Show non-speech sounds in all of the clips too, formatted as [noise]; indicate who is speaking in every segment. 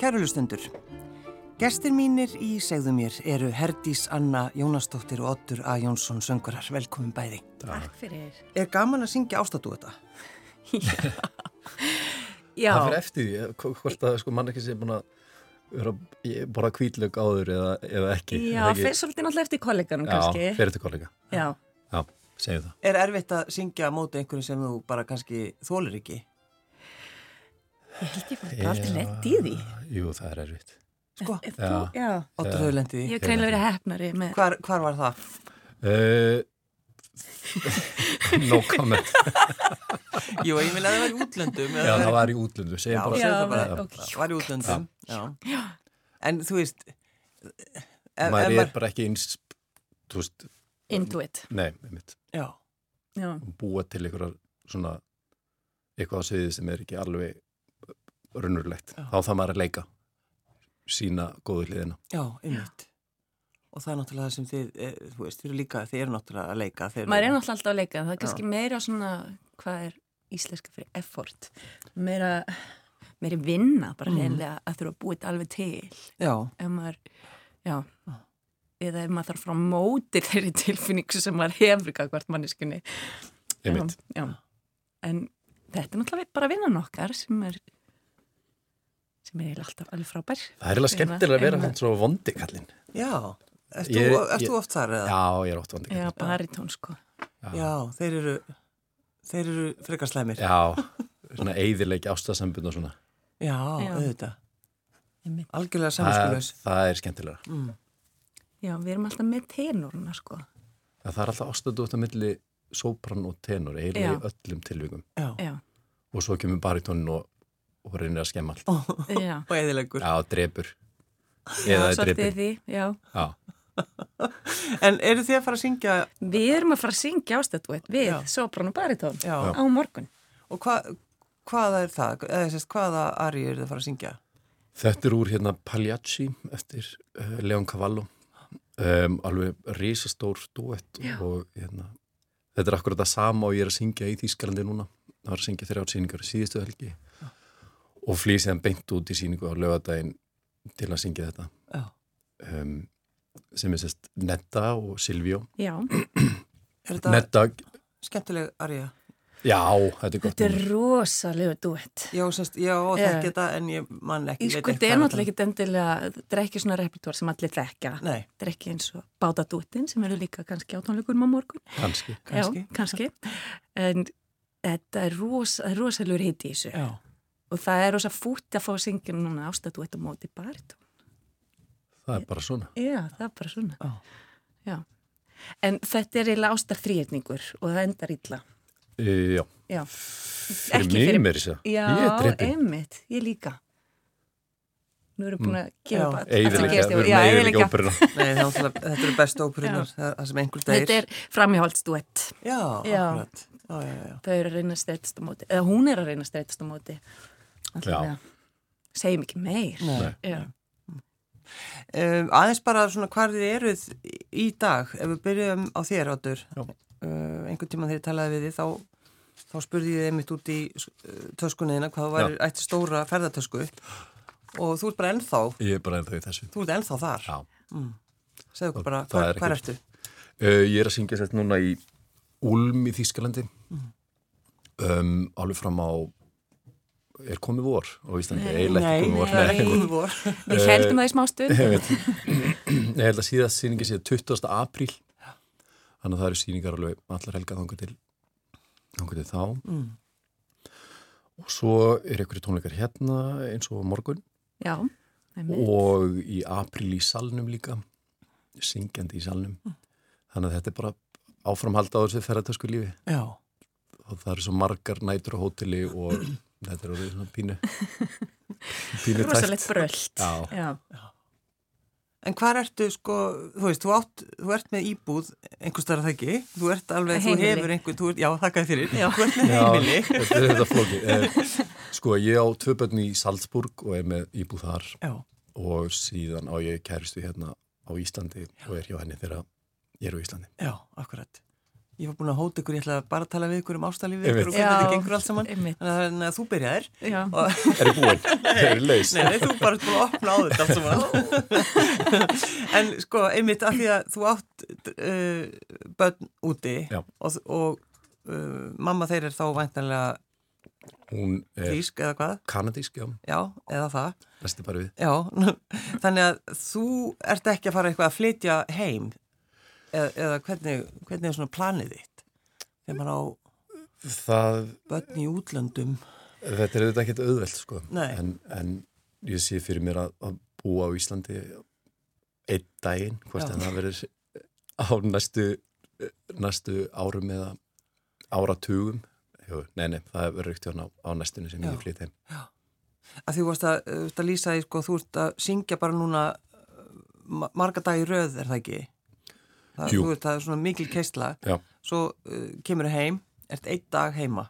Speaker 1: Kærulustundur, gestir mínir í segðu mér eru Herdís Anna Jónasdóttir og Ottur A. Jónsson söngurar. Velkomin bæði.
Speaker 2: Takk fyrir.
Speaker 1: Er gaman að syngja ástatu þetta?
Speaker 2: Já,
Speaker 3: Það fyrir eftir því, eh, hv- hvort að sko, mann ekki sé búin að vera að borða kvítlög áður eða, eða ekki.
Speaker 2: já
Speaker 3: eða ekki.
Speaker 2: fyrir svolítið náttúrulega eftir kolleganum kannski.
Speaker 3: Já, fyrir til kollega.
Speaker 2: Já,
Speaker 3: Já, segjum það.
Speaker 1: Er erfitt að syngja á móti einhverju sem þú bara kannski þólir ekki?
Speaker 2: ég held ég bara bara aldrei
Speaker 3: Já.
Speaker 2: lett í því.
Speaker 3: Jú, það er erfitt.
Speaker 1: Sko,
Speaker 2: Ef Þú, já,
Speaker 1: Ottur hefur lendið því.
Speaker 2: ég hef greinlega verið hefnari með...
Speaker 1: Hvar, hvar var það?
Speaker 3: Uh, [laughs] no comment.
Speaker 1: Jú, ég vil að það var í útlöndum.
Speaker 3: Já, það var í útlundu, segjum bara.
Speaker 1: Já, segðu
Speaker 2: Já,
Speaker 1: það bara.
Speaker 2: ok.
Speaker 1: Það var í útlöndum. Já. En þú veist, ef- ef
Speaker 3: maður er
Speaker 1: maður-
Speaker 3: bara ekki eins, þú veist,
Speaker 2: Intuit.
Speaker 3: nei, einmitt,
Speaker 1: já,
Speaker 2: Já,
Speaker 3: búa til einhverjar svona, eitthvað á sviði sem er ekki alveg runnurlegt.
Speaker 1: Já.
Speaker 3: Þá þarf maður að leika, sína góðu hliðina.
Speaker 1: já, einmitt. Og það er náttúrulega það sem þið, eh, þú veist, þið eru líka, þið eru náttúrulega að leika. þið eru-
Speaker 2: maður er náttúrulega alltaf að leika. Það er kannski meira svona, hvað er íslenska fyrir effort? Meira, meiri vinna bara mm. að þurfa að búa þetta alveg til.
Speaker 1: Já,
Speaker 2: Ef maður, já, eða ef maður þarf frá móti þeirri tilfinningu sem maður hefur kakvart manneskunni.
Speaker 3: Einmitt.
Speaker 2: Já, já. En þetta er náttúrulega bara vinnan okkar sem er sem er eiginlega alltaf alveg frábær.
Speaker 3: Það er eiginlega
Speaker 2: Hérna,
Speaker 3: skemmtilega að vera
Speaker 2: einmitt.
Speaker 3: hann svo vondi kallinn.
Speaker 1: já. Erst
Speaker 3: Ég-
Speaker 1: þú, ert
Speaker 3: ég-
Speaker 1: þú oft þar eða?
Speaker 3: Já, ég er ótt vondi
Speaker 2: Já,
Speaker 3: kallinn.
Speaker 2: baritón sko.
Speaker 1: Já, þeir eru, þeir eru frekar slæmir.
Speaker 3: Já, svona eigðileiki ástasambund og svona.
Speaker 1: Já,
Speaker 2: Já.
Speaker 1: auðvitað.
Speaker 2: Einmitt.
Speaker 1: Algjörlega Mm.
Speaker 3: Það,
Speaker 1: samvinskulegs.
Speaker 3: það er skemmtilega.
Speaker 2: Já, við erum alltaf með tenoruna sko.
Speaker 3: Það það er alltaf ástadótt að milli sópran og tenor, eiginlega í öllum tilvíkum.
Speaker 1: Já,
Speaker 3: [laughs]
Speaker 2: Já,
Speaker 3: Og svo kemur baritónin og, og reynir að skemma allt.
Speaker 2: já.
Speaker 1: og eðilegur.
Speaker 3: Já, drepur. Eða
Speaker 2: já,
Speaker 3: er
Speaker 2: svolítið
Speaker 3: drepin.
Speaker 2: því, já.
Speaker 3: Já,
Speaker 1: En eru þið að fara að syngja,
Speaker 2: Við erum að fara að syngja ástættuett við
Speaker 1: Já.
Speaker 2: sopran og baritón
Speaker 1: Já.
Speaker 2: á morgun.
Speaker 1: og hva, hvaða er það? Eða sérst, hvaða ari eru þið að fara að syngja?
Speaker 3: þetta er úr hérna Pagliacci eftir uh, Leon Cavallo. Um, alveg risastór duett og hérna, þetta er akkurat það sama og ég er að syngja í Þýskalandi núna. Það var að syngja þrjár síningar í síðustu helgi og flýði séðan beint út í síningu á lögadaginn til að syngja þetta.
Speaker 1: Já,
Speaker 3: Um, sem er sérst Netta og Silvio.
Speaker 2: Já,
Speaker 1: er þetta
Speaker 3: Netta,
Speaker 1: skemmtileg ari?
Speaker 3: já, þetta er gott.
Speaker 2: þetta er
Speaker 3: númer.
Speaker 2: rosalegu duett.
Speaker 1: Já, sérst, já,
Speaker 2: Já.
Speaker 1: þekki þetta en ég man ekki. veit um
Speaker 2: Sko,
Speaker 1: ekki
Speaker 2: þetta
Speaker 1: hvað
Speaker 2: er náttúrulega
Speaker 1: það-
Speaker 2: ekkit endilega, þetta er ekki svona repertúar sem allir þekka.
Speaker 1: Nei,
Speaker 2: Þetta er ekki eins og bátadúttin sem eru líka kannski átónleikunum á morgun.
Speaker 3: Kannski.
Speaker 1: kannski.
Speaker 2: Já, kannski. En þetta er rosa, rosalur hitt í þessu.
Speaker 1: Já,
Speaker 2: Og það er rosa fútt að fá að syngja núna ástættuett á móti baritón.
Speaker 3: Það er bara svona.
Speaker 2: Já, það er bara svona.
Speaker 1: já.
Speaker 2: Já. En þetta er eiginlega ástar þrýhetningur og það endar illa.
Speaker 3: Uh, já,
Speaker 2: Já,
Speaker 3: fyrir
Speaker 2: Ekki
Speaker 3: mig
Speaker 2: fyrir-
Speaker 3: meiri sér.
Speaker 2: já
Speaker 3: Ég er drepin.
Speaker 2: einmitt, ég líka. Nú erum við búin að
Speaker 1: Já.
Speaker 2: gefa upp allt- allt sem
Speaker 3: Eðilega,
Speaker 2: gerist í-
Speaker 3: við
Speaker 2: Já,
Speaker 3: erum eðilega
Speaker 2: eyðileggja.
Speaker 3: óperuna.
Speaker 1: Nei, þá, þetta eru best óperunar,
Speaker 2: Já.
Speaker 1: það það sem einhver dagir.
Speaker 2: Þetta er framhjálpsduett.
Speaker 1: Já,
Speaker 2: Já.
Speaker 1: akkurat. Já, já, já.
Speaker 2: Þau eru að reyna að streytast á móti. Eða hún er að reyna að streytast á móti. Allavega. Segjum ekki meir.
Speaker 1: Nei.
Speaker 2: Já.
Speaker 1: Um, aðeins bara svona hvar þið eruð í dag, ef við byrjum á þér áttur,
Speaker 3: Já.
Speaker 1: uh, einhvern tíma þegar ég talaði við þið þá, þá spurði ég þið einmitt út í uh, töskunniðina hvað þú væri ætti stóra ferðartösku og þú ert bara ennþá,
Speaker 3: Ég er bara ennþá í þessu.
Speaker 1: þú ert ennþá þar,
Speaker 3: Já.
Speaker 1: segðu okkur bara
Speaker 3: Það
Speaker 1: hvar,
Speaker 3: er
Speaker 1: hvar
Speaker 3: ekkert.
Speaker 1: ertu?
Speaker 3: Uh, ég er að syngja þetta núna í Ulm í Þýskalandi. Um, alveg fram á, er komið vor á Íslandi? Eiginlega ekki komið vor.
Speaker 1: það er
Speaker 3: Nei.
Speaker 1: ekki komið vor. [laughs]
Speaker 2: Við heldum það í smá stund.
Speaker 3: Ég held að síðast síningi sé 20. apríl. Þannig að það eru síningar alveg allar helga þangur til, þangur til þá. Og svo er einhverju tónleikar hérna eins og á morgun.
Speaker 2: Já, einmitt.
Speaker 3: og í april í salnum líka syngjandi í salnum
Speaker 1: Mm.
Speaker 3: þannig að þetta er bara áframhald á þessu ferðartösku lífi
Speaker 1: Já,
Speaker 3: og það eru svo margar nætur á hóteli og [clears throat] þetta er orðið svona
Speaker 1: [laughs]
Speaker 3: pínu pínu
Speaker 2: Rosalegt
Speaker 3: tætt
Speaker 2: brölt.
Speaker 3: Já.
Speaker 2: Já.
Speaker 1: en hvar ertu sko, þú veist, þú, átt, þú ert með íbúð einhvers þar að það ekki, þú ert alveg, þú
Speaker 2: Heimili.
Speaker 1: hefur einhver, þú ert, já þakkaði
Speaker 3: [laughs]
Speaker 1: fyrir,
Speaker 2: Já.
Speaker 1: þú ert með
Speaker 3: Já,
Speaker 1: heimili.
Speaker 3: þetta er þetta flóki sko ég á tvö börn í Salzburg og er með íbúð þar
Speaker 1: Já,
Speaker 3: og síðan á ég kæristu hérna á Íslandi og er hjá henni þegar ég er á Íslandi
Speaker 1: já, akkurat. ég var búin að hóta ykkur, ég ætla bara að tala við ykkur um ástallífið ykkur
Speaker 3: Einmitt.
Speaker 1: og hvernig þetta
Speaker 2: Já.
Speaker 1: gengur allt saman
Speaker 2: Einmitt.
Speaker 1: þannig að- þannig að þú byrjaðir
Speaker 2: Já.
Speaker 1: og
Speaker 3: Er ég búin?
Speaker 1: [laughs]
Speaker 3: Er ég leys?
Speaker 1: nei, nei, þú bara ert búin að opna á þetta allt saman [laughs] en sko, einmitt af því að þú átt uh, börn úti
Speaker 3: Já.
Speaker 1: og, og uh, mamma þeir er þá væntanlega
Speaker 3: Hún er
Speaker 1: grísk eða hvað,
Speaker 3: kanadísk, já,
Speaker 1: já, eða það
Speaker 3: resti bara við.
Speaker 1: já, [laughs] þannig að þú ert ekki að fara eitthvað að flytja heim eða, eða hvernig, hvernig er svona planið þitt þegar maður á
Speaker 3: Það,
Speaker 1: börn í útlöndum
Speaker 3: þetta er auðvitað ekkert auðvelt, sko.
Speaker 1: Nei.
Speaker 3: En, en ég sé fyrir mér að, að búa á Íslandi einn daginn, hvort
Speaker 1: Já.
Speaker 3: en það verður á næstu, næstu árum eða áratugum. Jú, nei, nei, það verður ekkert á, á næstunni sem
Speaker 1: Já.
Speaker 3: ég flyt heim.
Speaker 1: að því varst að, eh, þú ert að lýsa því sko, þú ert að syngja bara núna uh, ma- marga dag í röð er það ekki það,
Speaker 3: Jú.
Speaker 1: þú ert að svona mikil keisla
Speaker 3: Já,
Speaker 1: svo uh, kemur þú heim, ert einn dag heima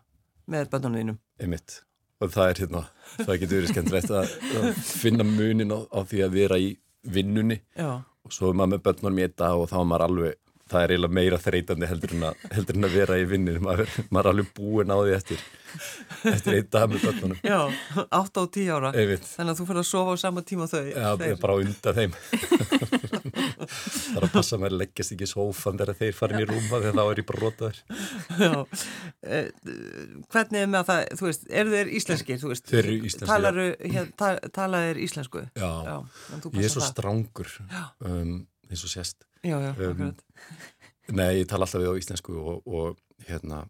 Speaker 1: með bönnunum þínum
Speaker 3: einmitt. Og það er hérna, það getur verið skemmtilegt að, að finna munin á, á því að vera í vinnunni
Speaker 1: [laughs] já,
Speaker 3: og svo er maður með börnunum í einn dag og þá er maður alveg, það er eiginlega meira þreytandi heldur en að, heldur en að vera í vinnunni, maður, maður er alveg búin á því eftir, eftir einn dag með börnunum.
Speaker 1: já, 8 og 10 ára
Speaker 3: Einmitt,
Speaker 1: þannig að þú fyrir að sofa á sama tíma og þau
Speaker 3: það
Speaker 1: þeir.
Speaker 3: er bara á undan þeim. það er að passa að maður leggjast ekki í sófan þegar þeir farin í rúma þegar þá er ég bara rotaður.
Speaker 1: [laughs] já. Eh, hvernig er með það, þú veist, eru þeir íslenskir þú veist,
Speaker 3: Þeir eru íslenskir, já.
Speaker 1: talaðu, hér, ta, talaðu þeir íslensku
Speaker 3: Já,
Speaker 1: já, en þú
Speaker 3: ég er
Speaker 1: passar
Speaker 3: svo
Speaker 1: það
Speaker 3: strangur um, eins og sérst.
Speaker 1: já, já,
Speaker 3: um,
Speaker 1: akkurat
Speaker 3: Nei, ég tala alltaf við á íslensku og, og hérna,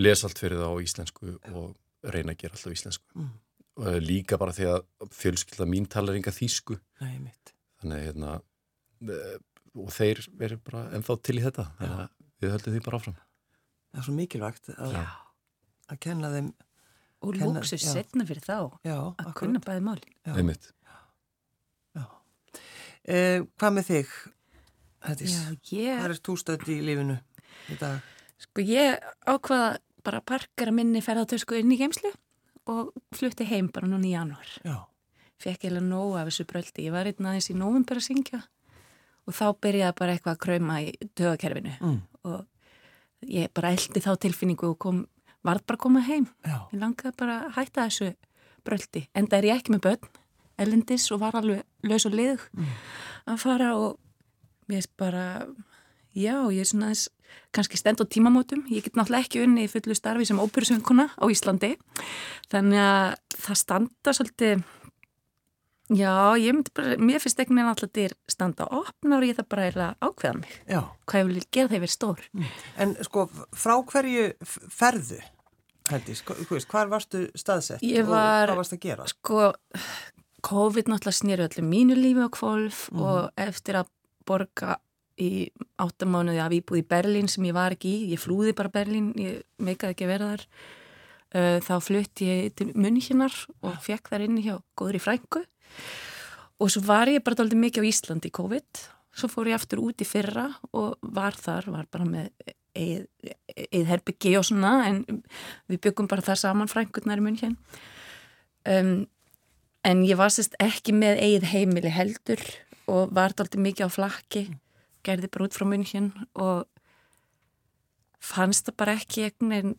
Speaker 3: les allt fyrir það á íslensku og reyna að gera alltaf íslensku.
Speaker 1: Mm.
Speaker 3: Og eh, líka bara því að fjölskylda mín talar enga þýsku,
Speaker 1: Nei, mitt
Speaker 3: þannig að, hérna, eh, og þeir verður bara ennþá til í þetta, þannig að við höldum því bara áfram.
Speaker 1: það er svo mikilvægt að,
Speaker 3: Já.
Speaker 1: að kenna þeim
Speaker 2: Og
Speaker 1: Kenna-
Speaker 2: lúksu
Speaker 1: já.
Speaker 2: setna fyrir þá
Speaker 1: já,
Speaker 2: að
Speaker 1: akkurat.
Speaker 2: kunna bæði mál.
Speaker 1: Já.
Speaker 3: Einmitt.
Speaker 1: Eh, hvað með þig Hættis,
Speaker 2: ég,
Speaker 1: hvað er þú stödd í lífinu í dag?
Speaker 2: sko ég ákvaða bara að parkara minni ferðartösku inn í geimslu og flutti heim bara núna í janúar.
Speaker 1: Já,
Speaker 2: Fekk eiginlega nóg af þessu bröldi. Ég var einn aðeins í november að syngja og þá byrjaði bara eitthvað að krauma í dögakerfinu
Speaker 1: mm,
Speaker 2: og ég bara eldi þá tilfinningu og kom, varð bara að koma heim.
Speaker 1: já,
Speaker 2: Ég langaði bara að hætta þessu bröldi. Enda er ég ekki með börn, ellendis og var alveg laus og liðug að fara og mér er bara, já, ég er svona aðeins kannski stend á tímamótum. Ég get náttúrulega ekki unni í fullu starfi sem óperusönguna á Íslandi. Þannig að það standa svolítið, já, ég myndi bara, mér finnst ekki neina alltaf dyr standa á opnar og ég það bara er að ákveða mig.
Speaker 1: já
Speaker 2: Hvað ég vil gera þegar ég verð stór.
Speaker 1: En sko, frá hverju f- ferðu? Hættis, hvað varstu staðsett
Speaker 2: Ég
Speaker 1: og
Speaker 2: var-
Speaker 1: hvað varstu að gera?
Speaker 2: sko, COVID náttúrulega snýru öllu mínu lífi á kvolf og eftir að borga í áttamánuði af íbúð í Berlín sem ég var ekki í, ég flúði bara Berlín, ég meikaði ekki að vera þar, uh, þá flutti ég til Münchenar og fekk þar inni hjá góðri frængu og svo var ég bara dálítið mikið á Íslandi í COVID, svo fór ég aftur út í fyrra og var þar, var bara með eða herbyggi og svona en við byggum bara þar saman frængurnar í München um, en ég var sérst ekki með eigið heimili heldur og var dálítið mikið á flakki gerði bara út frá munn og fannst það bara ekki einhvern veginn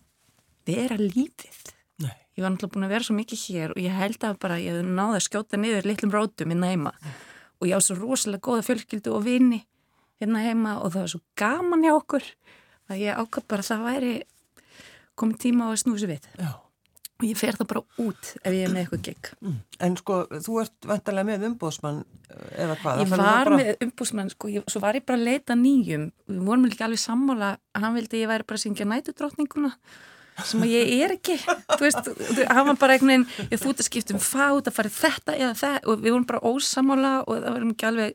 Speaker 2: vera lífið
Speaker 1: Nei,
Speaker 2: ég var náttúrulega búin að vera svo mikið hér og ég held að bara ég hefði náði að skjóta niður litlum rótum hérna heima og ég á svo rosalega góða fjölskyldu og vini hérna heima og það var svo gaman hjá okkur að ég ákvað bara að það væri komið tíma á að snúsi við
Speaker 1: já
Speaker 2: og ég fer það bara út ef ég er með eitthvað gig
Speaker 1: En sko, þú ert vantarlega með umbóðsmann eða hvað? Þannig að
Speaker 2: Ég
Speaker 1: þú
Speaker 2: var
Speaker 1: bara-
Speaker 2: með umbúsmann, sko, ég, svo var ég bara að leita nýjum. Við vorum ekki alveg sammála, hann vildi að ég væri bara að syngja nætudrottninguna, sem að ég er ekki. Þú veist, þú- hann var bara einhvern veginn, ég þú ert að skipta um fát, að fara í þetta eða það, og við vorum bara ósammála og það varum ekki alveg,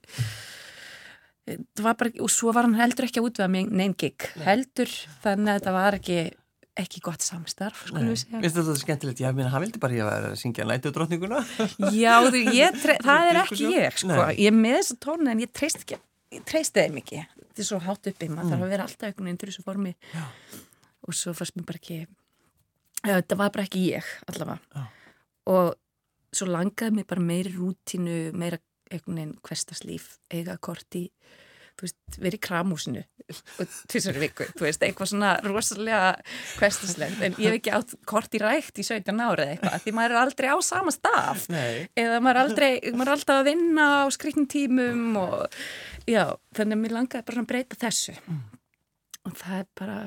Speaker 2: það var bara, og svo var hann heldur ekki að útvega mig neinn gig, heldur, þannig að þetta var ekki, ekki gott samstarf, skulum
Speaker 1: Nei,
Speaker 2: við segja.
Speaker 1: Finnst þetta skemmtilegt? Já, minna, hann vildi bara ég var að syngja nættu drottninguna
Speaker 2: Já, þú, ég, tre- það er ekki
Speaker 1: Diskusjón?
Speaker 2: ég, sko.
Speaker 1: Nei.
Speaker 2: Ég er með þessa tónu en ég treyst ekki, ég treyst þeim ekki. Þetta er svo hátt uppi, maður þarf að vera alltaf einhvern veginn til þessu formi. Já. Og svo fannst mér bara ekki, Já, þetta var bara ekki ég allavega.
Speaker 1: Já.
Speaker 2: Og svo langaði mér bara meiri rútinu, meira einhvern veginn hverstas líf, eiga kort í, þú þú veist, verið í kramúsinu tvisar viku, þú veist, eitthvað svona rosalega kvestislegt, en ég hef ekki átt kort í rækt í 17 ára eða eitthvað, því maður er aldrei á sama stað
Speaker 1: Nei.
Speaker 2: eða maður er aldrei, maður er alltaf að vinna á skritin tímum og já, þannig að mér langaði bara að breyta þessu
Speaker 1: Mm.
Speaker 2: og það er bara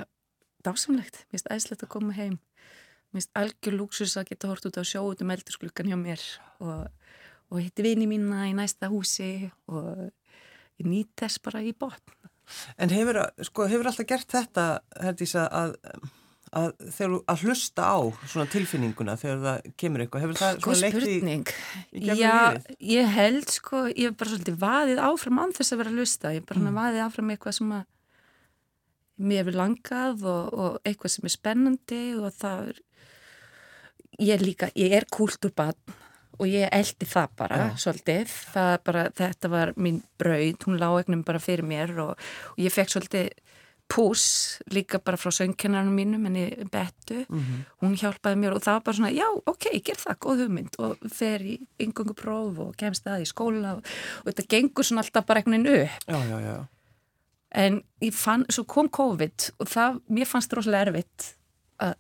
Speaker 2: dásamlegt, mér finnst æðislegt að koma heim mér finnst algjör lúksus að geta hort út á sjó út um eldursklukan hjá mér og, og hitti vini mína í næsta húsi og ég nýt þess bara í botn
Speaker 1: En hefur, sko, hefur alltaf gert þetta, Herdísa, að, að, þegar, þú- að hlusta á svona tilfinninguna þegar það kemur eitthvað? Hefur það
Speaker 2: Góð
Speaker 1: svona leitt í...
Speaker 2: Sko, spurning.
Speaker 1: í gegnum
Speaker 2: Já,
Speaker 1: lífið?
Speaker 2: ég held sko, ég hef bara svolítið vaðið áfram án þess að vera að lusta. Ég hef bara mm. vaðið áfram eitthvað sem að mér hefur langað og, og eitthvað sem er spennandi og það er, ég er líka, ég er kúlturbann og ég eldi það bara, svolítið. Það er bara, þetta var mín braud, hún lág egnum bara fyrir mér og, og ég fekk svolítið pús líka bara frá söngkennarinn mínum henni Bettu, hún hjálpaði mér og það var bara svona, já, ok, ég ger það, góð hugmynd og fer í yngöngu próf og kemst það í skóla og, og þetta gengur svona alltaf bara einhvern veginn upp
Speaker 1: Já, já, já.
Speaker 2: en ég fann, svo kom COVID og það, mér fannst það rosalega erfitt að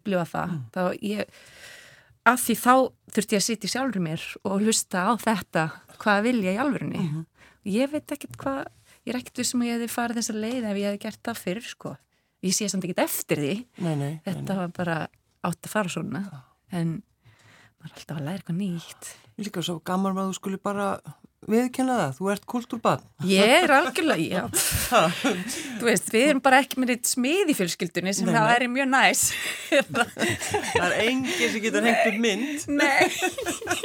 Speaker 2: upplifa það þá ég, af því þá þurfti ég að sitja í sjálfur mér og hlusta á þetta, hvað vil ég í alvörunni ég veit ekkert hvað ég er ekkert við sem að ég hefði farið þessa leið ef ég hefði gert það fyrir, sko ég sé samt ekkert eftir því,
Speaker 1: Nei, nei. nei, nei.
Speaker 2: þetta var bara átt að fara svona, en maður er alltaf að læra eitthvað nýtt
Speaker 1: Líka svo gaman að þú skulle bara viðkenna það. Þú ert kultúrbann.
Speaker 2: Ég er algjörlega, já. Þú veist, við erum bara ekki með neitt smið í fjölskyldunni sem það væri mjög næs.
Speaker 1: Það er enginn sem getur hengt upp mynd.
Speaker 2: nei,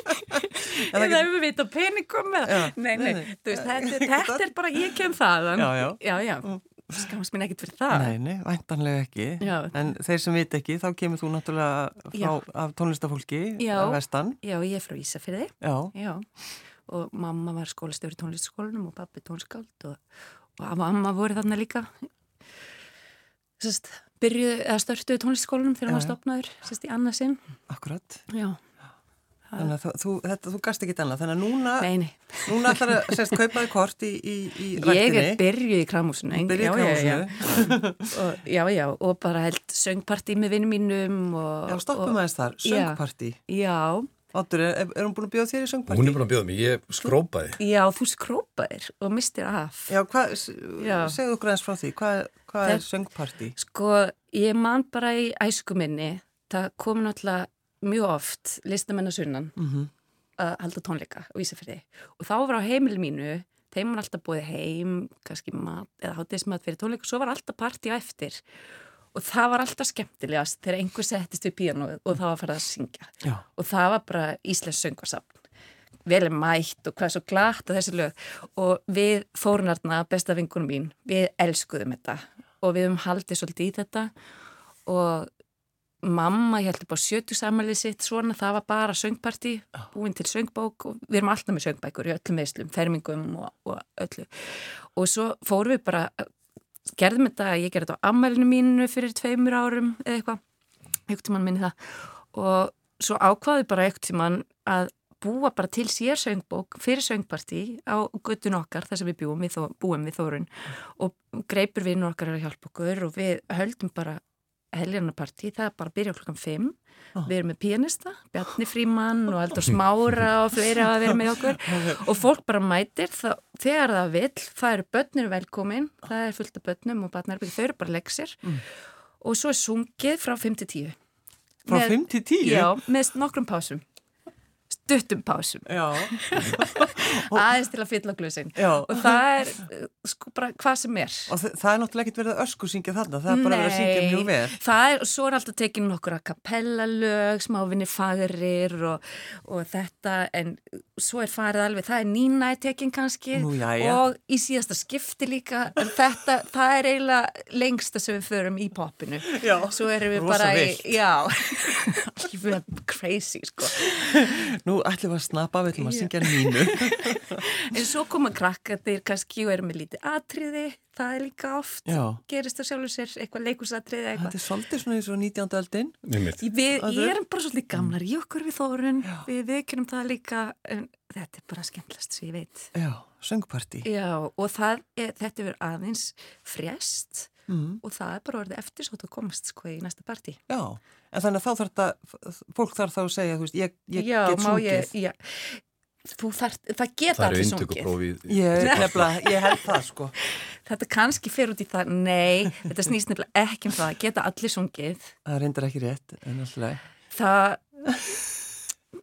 Speaker 1: [laughs] það
Speaker 2: það er við veit að peningum með
Speaker 1: Já,
Speaker 2: Nei, nei,
Speaker 1: nei, nei.
Speaker 2: þú veist, þetta, þetta er bara, ég kem þaðan.
Speaker 1: Já, já.
Speaker 2: Já, já, skamast mín ekkert fyrir það.
Speaker 1: Nei, nei, væntanlega ekki.
Speaker 2: Já.
Speaker 1: En þeir sem veit ekki, þá kemur þú náttúrulega
Speaker 2: Já.
Speaker 1: frá, af tónlistafólki,
Speaker 2: Já.
Speaker 1: af vestan.
Speaker 2: Já, ég er frá Ísafyrði,
Speaker 1: Já,
Speaker 2: já. Og mamma var skólastöfri tónlistskólanum og pappi tónskáld og, og mamma voru þarna líka. Sest, byrjuðu, eða störtuðu tónlistskólanum þegar hann var
Speaker 1: Já, já.
Speaker 2: stopnaður, sérst, í annarsinn.
Speaker 1: akkurat.
Speaker 2: Já.
Speaker 1: Þannig að þú- þú, þetta, þú gast ekki annað. Þannig að núna,
Speaker 2: Nei, nei.
Speaker 1: núna ætlar að sérst kaupaði kort í, í, í
Speaker 2: Ég
Speaker 1: ræktinni.
Speaker 2: er byrjuð í kramhúsinu. eng-
Speaker 1: Byrjuð í
Speaker 2: já, já, já.
Speaker 1: kramhúsinu.
Speaker 2: og, já, já, og bara held söngparti með vinnum mínum. Og,
Speaker 1: Já, stoppum
Speaker 2: og,
Speaker 1: aðeins þar, söngparti.
Speaker 2: Já,
Speaker 1: Óttur, er, er hún búin að bjóða þér í söngparti?
Speaker 3: Hún er búin að bjóða mig, ég skrópaði.
Speaker 2: já, þú skrópaðir og mistir af.
Speaker 1: Já, hvað,
Speaker 2: Já.
Speaker 1: segðu okkur aðeins frá því, hvað, hvað er söngparti?
Speaker 2: Sko, ég man bara í æsku minni, það kom náttúrulega mjög oft listamennar sunnan að halda tónleika og vísa fyrir Og þá var á heimil mínu, þeim var alltaf búið heim, kannski mat eða hátismat fyrir tónleika, svo var alltaf partí á eftir. Og það var alltaf skemmtilegast þegar einhver settist við píanóið og það var farið að syngja.
Speaker 1: Já.
Speaker 2: Og það var bara Íslands söngvarsafn. Vel er mætt og hvað er svo glatt að þessi lög. Og við Þórnarna, besta vingunum mín, við elskuðum þetta. Og við höfum haldið svolítið í þetta. Og mamma, ég held upp á 70 samalið sitt, svona, það var bara söngparti, búin til söngbók og við erum alltaf með söngbækur í öllum veislum, fermingum og, og öllu. Og svo fórum við bara, gerðum þetta, ég gerði þetta á ammælinu mínu fyrir tveimur árum eða eitthvað, einhvern tímann minni það. Og svo ákvaði bara einhvern tímann að búa bara til sér söngbók fyrir söngparti á guttun okkar, þar sem við búum við, Þó- búum við Þórun og greipur vinnur okkar er að hjálpa okkur og við höldum bara heljarnapartí, það er bara að byrja klokkan 5 við erum með pianista, Bjarni Fríman og
Speaker 1: [laughs]
Speaker 2: Aldur Smára og fleiri að vera með okkur og fólk bara mætir það, þegar það vill, það eru börnir velkomin, það er fullt af börnum og barnarbygg, þau eru bara leksir
Speaker 1: Mm.
Speaker 2: og svo er sungið frá 5 til 10
Speaker 1: Frá
Speaker 2: Með-
Speaker 1: 5 til 10?
Speaker 2: Já, með nokkrum pásum stuttum pásum,
Speaker 1: Já.
Speaker 2: aðeins til að fylla glösin
Speaker 1: Já.
Speaker 2: og það er eh, sko bara hvað sem er
Speaker 1: Og þa- það er náttúrulega ekkert verið að ösku syngja þarna, það er bara verið að syngja mjög vel.
Speaker 2: það er, og svo er alltaf tekin nokkur að kapella lög, smávinni fagrir og, og þetta, en svo er farið alveg, það er nýna tekin kannski
Speaker 1: Nú, jæja.
Speaker 2: og í síðasta skipti líka, en þetta, það er eiginlega lengsta sem við förum í poppinu.
Speaker 1: Já.
Speaker 2: Svo erum við
Speaker 1: Rosa
Speaker 2: bara
Speaker 1: villt.
Speaker 2: í, já, [laughs] alveg crazy, sko.
Speaker 1: Nú ætlum við að snappa, við ætlum að syngja nínu.
Speaker 2: En svo koma krakka, þeir kannski og eru með lítið atriði, það er líka oft
Speaker 1: Já.
Speaker 2: gerist það sjálfur sér eitthvað leikusatrið eða
Speaker 1: Þetta
Speaker 2: [laughs] eitthvað
Speaker 1: er svolítið svona eins og 19. öldin.
Speaker 3: Einmitt.
Speaker 2: Við
Speaker 1: Þetta
Speaker 2: ég
Speaker 1: er-
Speaker 2: erum bara svolítið gamlar í okkur við þórun, við viðkynum það líka, en þetta er bara skemmtlast sem ég veit.
Speaker 1: Já, söngparti.
Speaker 2: Já, og það er, þetta verður aðeins frest
Speaker 1: Mm.
Speaker 2: og það er bara orðið eftirsótt að komast sko í næsta partí.
Speaker 1: Já, en þannig að þá þarf þetta, fólk þarf þá að segja, þú veist, ég, ég
Speaker 2: já,
Speaker 1: get
Speaker 2: má ég-
Speaker 1: sungið.
Speaker 2: Já, þú þarf, það geta
Speaker 3: Það eru
Speaker 2: allir
Speaker 3: inntöku
Speaker 2: sungið.
Speaker 3: prófið.
Speaker 1: Ég, nefnilega, ég held það, sko.
Speaker 2: Þetta kannski fer út í það, nei, þetta snýst nefnilega ekki um það, geta allir sungið.
Speaker 1: Það er reyndar ekki rétt, en alltaf.
Speaker 2: það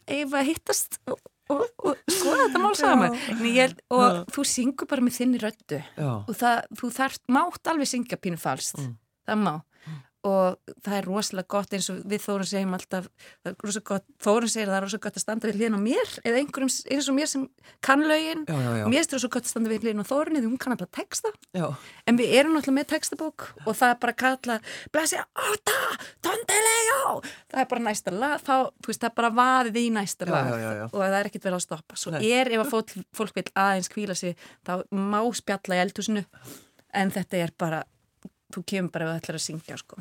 Speaker 2: eigum við að hittast og, og, og skoða þetta mál saman Nei, ég, held- og þú syngur bara með þinni röddu
Speaker 1: Já,
Speaker 2: og það, þú þarft, mátt alveg syngja pínu falskt,
Speaker 1: Mm.
Speaker 2: það má og það er rosalega gott eins og við Þórun segjum alltaf það er rosalega gott, Þórun segir að það er rosalega gott að standa við hliðin á mér eða einhverjum s- eins og mér sem kann lögin
Speaker 1: já, já, já.
Speaker 2: mér er rosalega gott að standa við hliðin á Þórun eða hún kann alltaf texta
Speaker 1: já.
Speaker 2: En við erum náttúrulega með textabók og það er bara að kalla Blessi átta, tondelega Það er bara næsta lag, þá, þú veist, það er bara vaðið í næsta
Speaker 1: Já,
Speaker 2: lag
Speaker 1: já, já, já.
Speaker 2: og það er ekkert verið að stoppa Svo
Speaker 1: Nei.
Speaker 2: er ef að fólk, fólk vil aðeins kvíla sig þá má spjalla í eldhúsinu en þetta er bara þú kemur bara ef þú ætlar að syngja sko.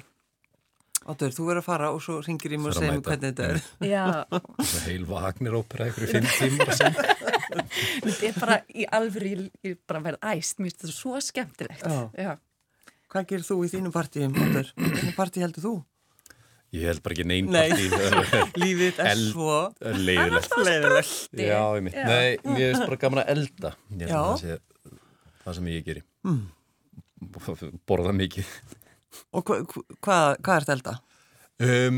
Speaker 1: Áttur, þú verður að fara og svo ringir í mig og
Speaker 3: Þarf að
Speaker 1: segir mér
Speaker 3: mæta.
Speaker 1: hvernig þetta er.
Speaker 2: Já,
Speaker 1: [laughs]
Speaker 3: Svo heil Wagner ópera ykkur í fimm tímur að syngja.
Speaker 2: þetta er bara í alvöru ég, ég bara verið æst, mér finnst þetta svo skemmtilegt
Speaker 1: Já.
Speaker 2: Já.
Speaker 1: Hvað gerir þú í þínum partíum, Áttur? Hvernig partí heldur þú?
Speaker 3: Ég held bara ekki neyn
Speaker 1: Nei. [laughs]
Speaker 3: partí.
Speaker 1: Lífið er
Speaker 3: Eld-
Speaker 1: svo
Speaker 3: Leiðilegt.
Speaker 1: leiðilegt.
Speaker 3: Já, ég mitt. Nei, mér finnst bara gaman að elda. Ég held
Speaker 1: Já.
Speaker 3: að Það sé það sem ég geri. Mm. [laughs] Borða mikið.
Speaker 1: Og hva, hva, hvað, hvað ert elda?
Speaker 3: Um,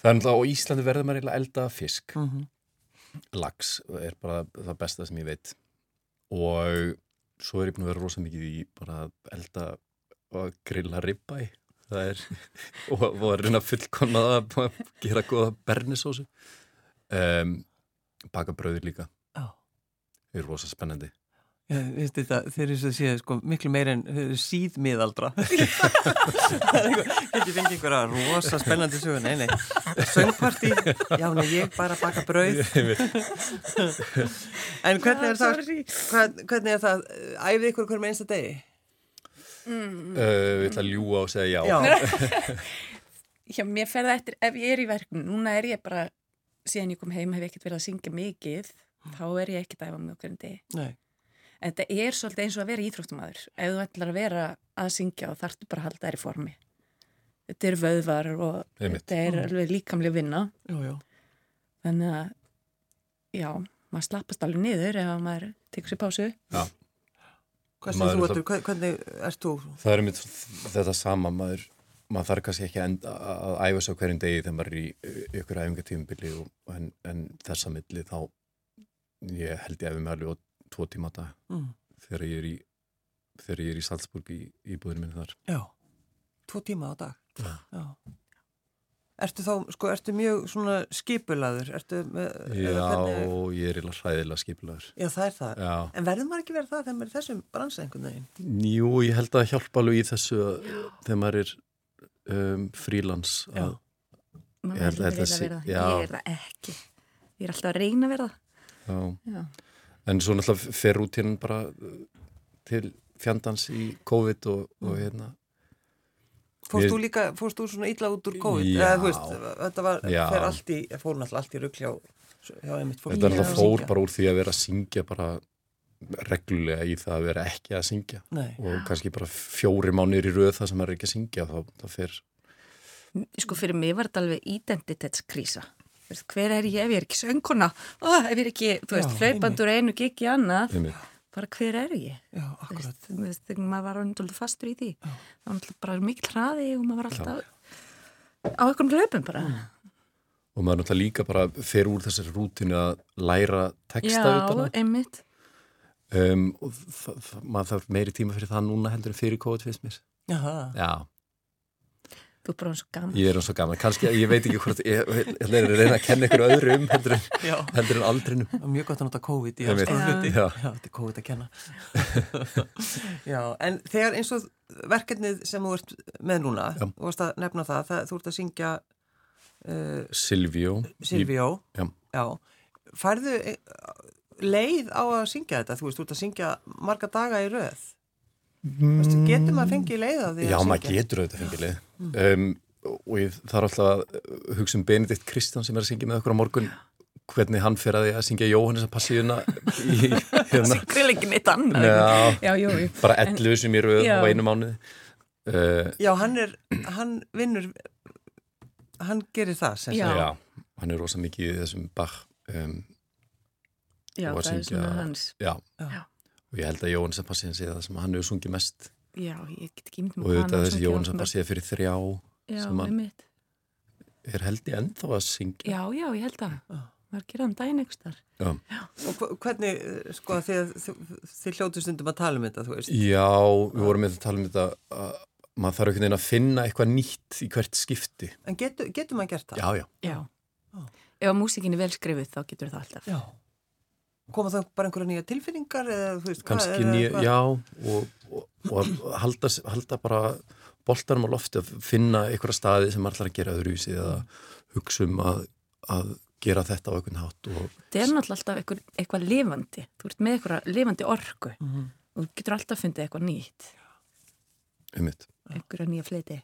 Speaker 3: það er náttúrulega á Íslandi verður maður eiginlega að elda fisk.
Speaker 1: Mm -hmm.
Speaker 3: Lags er bara það besta sem ég veit. Og svo er ég búin að vera rosa mikið í bara að elda og grilla ribbæ. Það er, [laughs] og, og að reyna fullkonna að gera góða bernisósu. Um, baka brauði líka. Það er rosa spennandi.
Speaker 1: Ég veist þetta, þeir eru svo að séu sko, miklu meir en þeir eru síðmiðaldra. [laughs] Það er eitthvað, Getur fengið einhverja rosa spennandi sögu, nei, nei. Söngparti, já, nei, ég bara baka brauð. En hvernig er það,
Speaker 2: sorry.
Speaker 1: hvað, hvernig er það, eh, æfið ykkur hverjum einsta degi?
Speaker 3: Uh, ég ætla að ljúa og segja já.
Speaker 1: Mm. Já,
Speaker 2: Já, mér fer það eftir, ef ég er í verknum, núna er ég bara, síðan ég kom heim hef ég ekkert verið að syngja mikið,
Speaker 3: Mm.
Speaker 2: þá er ég ekkert að æfa með okkur en degi.
Speaker 1: [laughs] nei,
Speaker 2: En þetta er svolítið eins og að vera íþróttumadur. Ef þú ætlar að vera að syngja þá þarftu bara að halda þær í formi. Þetta er vöðvar og
Speaker 3: Einmitt. Mm.
Speaker 2: þetta er alveg líkamlega vinna.
Speaker 1: jú, jú.
Speaker 2: Þannig að, já, maður slappast alveg niður ef að maður tekur sér pásu.
Speaker 3: Já.
Speaker 1: Hvað
Speaker 3: Maður
Speaker 1: sem þú
Speaker 3: er
Speaker 1: áttur, hvernig ert þú?
Speaker 3: Það er mitt þetta sama maður, maður þarf kannski ekki að enda, að æfa sig á hverjum degi þegar maður er í í ykkur æfingatífumbili og en, en þessa milli þá ég held ég æfi mig alveg á tvo tíma á dag
Speaker 1: Mm.
Speaker 3: þegar ég er í þegar ég er í Salzburg í, í búðinu minni þar
Speaker 1: Já, tvo tíma á dag. Já. Ertu þá, sko, ertu mjög svona skipulaður? Ertu með, Eh, eða
Speaker 3: Já,
Speaker 1: hvernig-
Speaker 3: ég er eiginlega hræðilega skipulagur
Speaker 1: Já, það er það.
Speaker 3: Já,
Speaker 1: En verður maður ekki verið það þegar maður er í þessum bransa einhvern veginn?
Speaker 3: jú, ég held að hjálpa alveg í þessu að- þegar maður er um, frílans
Speaker 1: Já.
Speaker 3: að
Speaker 2: Maður
Speaker 3: Ég held
Speaker 2: verður
Speaker 3: að þetta
Speaker 2: eiginlega
Speaker 3: sé-
Speaker 2: að vera það.
Speaker 3: já.
Speaker 2: Ég er það ekki. Ég er alltaf að reyna að vera það.
Speaker 3: já.
Speaker 2: Já.
Speaker 3: En svo náttúrulega fer út hérna bara uh, til fjandans í COVID og, og hérna.
Speaker 1: Fórst
Speaker 3: Mér-
Speaker 1: þú líka, fórst þú svona illa út úr COVID?
Speaker 3: Já.
Speaker 1: Eða, þú veist, þetta var,
Speaker 3: Já.
Speaker 1: fer allt í, fór náttúrulega allt í rugl hjá, hjá einmitt fólk.
Speaker 3: Þetta er
Speaker 2: Já.
Speaker 3: náttúrulega fór bara úr því að vera að syngja bara reglulega í það að vera ekki að syngja.
Speaker 1: Nei,
Speaker 3: Og kannski bara fjóri mánir í röð það sem er ekki að syngja þá, þá fer
Speaker 2: sko fyrir mig var þetta alveg identitetskrísa Þú veist, hver er ég ef ég er ekki sönguna oh, ef ég er ekki, þú veist,
Speaker 1: Já,
Speaker 2: hlaupandur einu gikk í annað,
Speaker 3: um mig.
Speaker 2: bara hver er ég
Speaker 1: já,
Speaker 2: Þú
Speaker 1: akkurat.
Speaker 2: veist, þú veist, þegar maður var undur fastur í því þá var náttúrulega bara mikil hraði og maður var alltaf á einhverjum hlaupum bara
Speaker 3: Mm. Og maður náttúrulega líka bara fer úr þessari rútinu að læra texta utan
Speaker 2: já,
Speaker 3: að.
Speaker 2: einmitt
Speaker 3: Um, og það, það, maður þarf meiri tíma fyrir það núna heldur en fyrir COVID finnst mér.
Speaker 1: Já, það.
Speaker 3: Já.
Speaker 2: þú er bara eins og gaman [laughs]
Speaker 3: Ég er eins og gaman, kannski, ég veit ekki hvort ég, ég, ég er að reyna að kenna ykkur öðru um heldur en,
Speaker 1: Já.
Speaker 3: heldur en aldrinum
Speaker 1: Það er Mjög gott að nota COVID í
Speaker 3: Einmitt.
Speaker 1: alls konar
Speaker 3: Já.
Speaker 1: hluti.
Speaker 3: Já.
Speaker 1: Já, þetta er COVID að
Speaker 3: [laughs]
Speaker 1: kenna. já, en þegar eins og verkefnið sem þú ert með núna,
Speaker 3: Já.
Speaker 1: þú varst að nefna það, það þú ert að syngja uh,
Speaker 3: Silvíó
Speaker 1: Silvíó.
Speaker 3: Já.
Speaker 1: Færðu eh, leið á að syngja þetta? Þú veist, þú ert að syngja marga daga í röð. Vestu, getur maður fengið leið á því
Speaker 3: Já,
Speaker 1: að
Speaker 3: maður
Speaker 1: syngja? Mm.
Speaker 3: getur auðvitað fengileg um, og ég þarf alltaf að hugsa um Benedikt Kristján sem er að syngja með okkur á morgun hvernig hann fer að því að syngja Jóhannes að passíuna í,
Speaker 1: [laughs]
Speaker 3: hérna,
Speaker 2: Grillingin eitt annað.
Speaker 3: Já.
Speaker 2: Já, jú, jú.
Speaker 3: bara 11 sem ég rauð
Speaker 2: Já.
Speaker 3: á einu mánuði uh,
Speaker 1: Já, hann er, hann vinnur hann gerir það sem
Speaker 2: Já.
Speaker 1: sagt.
Speaker 3: Já, hann er rosa mikið í þessum Bach um,
Speaker 2: Já,
Speaker 3: Og að
Speaker 2: það er
Speaker 3: syngja-
Speaker 2: svona hans.
Speaker 3: já.
Speaker 1: Já.
Speaker 3: og ég held að Jóhannes að passíuna sé það sem hann hefur sungið mest
Speaker 2: Já, ég get ekki myndið
Speaker 3: og auðvitað þessi Jóhannes að passíuna fyrir þrjá
Speaker 2: Já,
Speaker 3: sem hann-
Speaker 2: einmitt.
Speaker 3: er held ég ennþá að syngja
Speaker 2: Já, já, ég held að.
Speaker 1: Já.
Speaker 2: Maður gerði hann daginn einhvers þar.
Speaker 3: Já.
Speaker 1: og hva- hvernig, eh, sko, þið, þið, þið hljótu stundum að tala um þetta, þú veist
Speaker 3: Já, við vorum með að tala um þetta að maður þarf einhvern veginn að finna eitthvað nýtt í hvert skipti.
Speaker 1: en getur, getur maður gert það?
Speaker 3: Já, já.
Speaker 2: Já.
Speaker 1: Já.
Speaker 2: Ef að músikin er vel skrifið þá getur það alltaf.
Speaker 1: Já. koma þá bara einhverja nýja tilfinningar eða þú veist, hvað
Speaker 3: Kanski
Speaker 1: eða
Speaker 3: nýja,
Speaker 1: hvað-
Speaker 3: já, og, og, og að halda, halda bara boltanum á lofti að finna einhverja staði sem maður ætlar að gera öðru í sig eða hugsa um að, að gera þetta á einhvern hátt og
Speaker 2: Það er náttúrulega alltaf einhver, eitthvað lifandi. Þú ert með eitthvað lifandi orku
Speaker 1: Mhm.
Speaker 2: og þú getur alltaf fundið eitthvað nýtt,
Speaker 3: um mitt.
Speaker 2: einhverja nýja fleiti.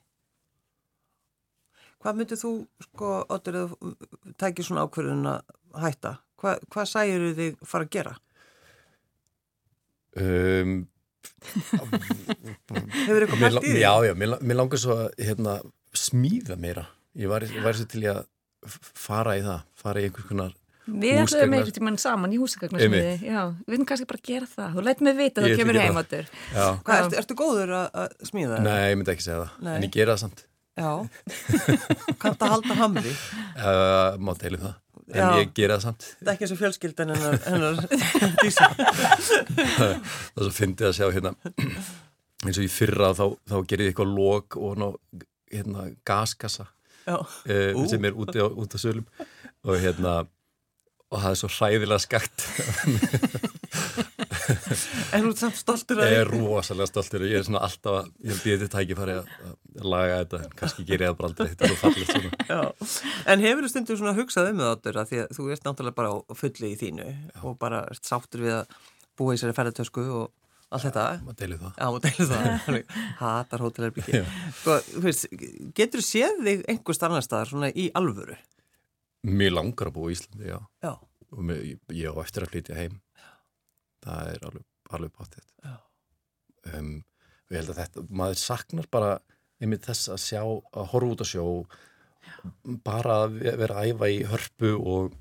Speaker 1: Hvað myndir þú, sko, Otur, að þú tækir svona ákverðun að hætta? Hva, hvað sægir þig fara að gera?
Speaker 3: Um,
Speaker 1: Hefur eitthvað hægt í
Speaker 3: mér, lang-
Speaker 1: því?
Speaker 3: já, já, mér, lang- mér langar svo að hérna, smíða meira. Ég var, ég var svo til í að f- fara í það, fara í einhvers konar
Speaker 2: Við ætlum
Speaker 3: Húsgagnar-
Speaker 2: einhvern tímann saman í húsagagnarsmiði. Já, við erum kannski bara að gera það. Þú læt mig vita að
Speaker 3: Ég
Speaker 2: þú
Speaker 3: ætla að
Speaker 2: kemur
Speaker 3: gera
Speaker 2: heim
Speaker 3: það.
Speaker 2: áttur.
Speaker 3: Já.
Speaker 1: Hvað, ertu, ertu góður að, að smíða það?
Speaker 3: Eh. Nei, ég myndi ekki segja það,
Speaker 1: Nei.
Speaker 3: en ég gera það samt [laughs]
Speaker 1: Já, kannst að halda hamri
Speaker 3: uh, má deilum það, en
Speaker 1: Já.
Speaker 3: ég gera það samt
Speaker 1: Þetta er ekki eins og fjölskyldan hennar, [laughs] hennar dísa.
Speaker 3: það er svo fyndið að sjá hérna [clears throat] eins og í fyrra þá, þá gerði ég eitthvað lok og ná, hérna gaskassa
Speaker 1: Já,
Speaker 3: uh,
Speaker 1: Ú.
Speaker 3: sem er úti á, út á sölum og hérna og það er svo hræðilega skakt
Speaker 1: en þú ert samt stoltur að
Speaker 3: ég er rosalega stoltur og ég er svona alltaf að, ég held ég þetta tækifæri að, að laga þetta, en kannski ger ég það bara aldrei þetta er svo fallið svona
Speaker 1: Já, en hefur þú stundur svona hugsað um það áttur að því að þú ert náttúrulega bara á fulli í þínu og bara ert sáttur við að búa í sér að ferðartösku og allt þetta.
Speaker 3: má deilum það
Speaker 1: Já, og deilur [laughs] það, Þannig, hatar hótelherbyggi. Sko, þú veist, getur þú séð þig einhvers annar staðar svona í alvöru?
Speaker 3: mjög langar að búa í Íslandi, já
Speaker 1: Já,
Speaker 3: og mér, ég, ég á eftir að flytja heim það er alveg, alveg pátitt
Speaker 1: Já.
Speaker 3: um, og ég held að þetta maður saknar bara einmitt þess að sjá, að horfa út að sjó bara að ve- vera að æfa í hörpu og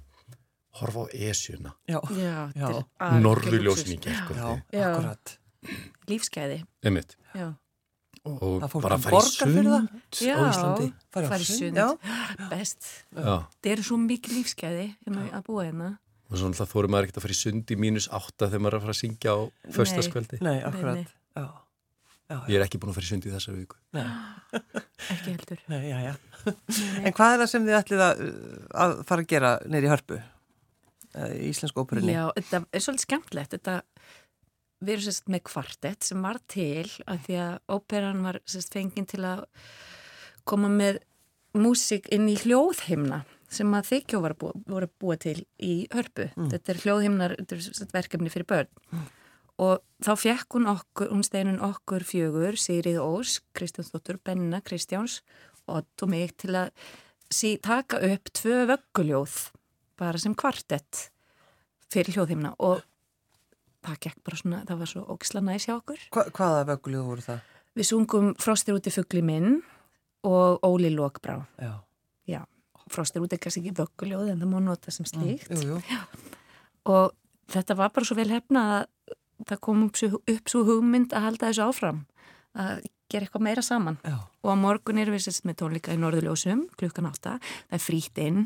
Speaker 3: horfa á esjuna
Speaker 1: já,
Speaker 2: Já,
Speaker 1: Já.
Speaker 2: þetta er algjör
Speaker 3: norðurljósin í
Speaker 2: lúxus.
Speaker 1: já,
Speaker 3: gerkvöldi
Speaker 2: Já.
Speaker 1: akkurat.
Speaker 2: Lífsgæði,
Speaker 3: einmitt
Speaker 2: já.
Speaker 3: og
Speaker 1: Það fólk
Speaker 3: bara
Speaker 1: sem
Speaker 3: fara í
Speaker 1: borgar fyrir
Speaker 3: sund
Speaker 1: það?
Speaker 3: á Íslandi
Speaker 1: Farið á
Speaker 2: farið
Speaker 1: sund,
Speaker 2: sund,
Speaker 1: já.
Speaker 2: [gasps] best.
Speaker 3: já.
Speaker 2: Það eru svo mikið lífsgæði hérna að búa hérna.
Speaker 3: og svo náttúrulega fórum maður ekkert að fara í sund í mínus átta þegar maður er að fara að syngja á förstaskvöldi
Speaker 1: Nei,
Speaker 2: nei.
Speaker 1: akkurat, já. Já,
Speaker 3: ég er ekki búin að fara í sund í þessar viku
Speaker 1: nei.
Speaker 2: Ekki heldur.
Speaker 1: Nei, já, já. En hvað er það sem þið ætlið að, uh, að fara að gera neyri hörpu? Eh, Í Íslensku óperunni?
Speaker 2: Já, þetta er svolítið skemmtilegt. Þetta, við erum sérst með kvartett sem var til að því að óperan var sérst fenginn til að koma með músík inn í hljóðhimna sem að þykjó var búa, voru búa til í hörpu. Þetta er hljóðhimnar, þetta er sérst verkefni fyrir börn. Og þá fekk hún okkur, hún steinun okkur fjögur, Sigrið Ós, Kristjánsdóttur, Benna Kristjáns og tóð mig til að sí, taka upp tvö vögguljóð bara sem kvartett fyrir hljóðhimna og það gekk bara svona, það var svo ógisla næs hjá okkur.
Speaker 1: Hva, hvaða vögguljóð voru það?
Speaker 2: Við sungum Frostir úti fugli minn og Óli Lókbrá.
Speaker 1: Já.
Speaker 2: Já, Frostir úti er kannski ekki vögguljóð en það má nota sem slíkt.
Speaker 1: Mm. Jú, jú.
Speaker 2: Og þetta var bara svo vel hefna að það kom upp svo, upp svo hugmynd að halda þessu áfram, að gera eitthvað meira saman.
Speaker 1: Já.
Speaker 2: Og á morgun erum við sérst með tónleika í Norðurljósum klukkan átta, það er frýtt inn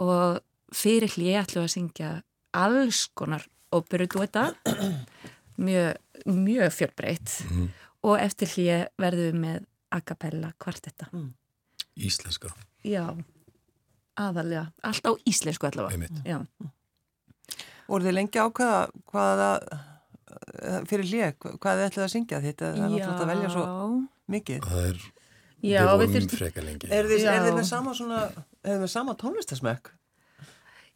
Speaker 2: og fyrir hlið ætlum við að syngja alls konar óperuduetta, mjög, mjög fjörbreytt
Speaker 1: Mhm.
Speaker 2: og eftir hlið verðum við með a cappella kvartetta.
Speaker 3: íslenska,
Speaker 2: Já, aðalega, allt á íslensku allavega.
Speaker 3: einmitt
Speaker 2: Já.
Speaker 1: Voru þið lengi ákvaða hvaða eh, fyrir hlið, hvað þið ætlið að syngja þetta? Það er náttúrulega að velja svo mikið.
Speaker 3: það er,
Speaker 2: Já,
Speaker 3: við
Speaker 2: við
Speaker 3: vorum
Speaker 2: þurftum
Speaker 3: freka lengi
Speaker 1: Er þið,
Speaker 2: Já.
Speaker 1: er þið með sama svona, er þið með sama tónlistasmekk?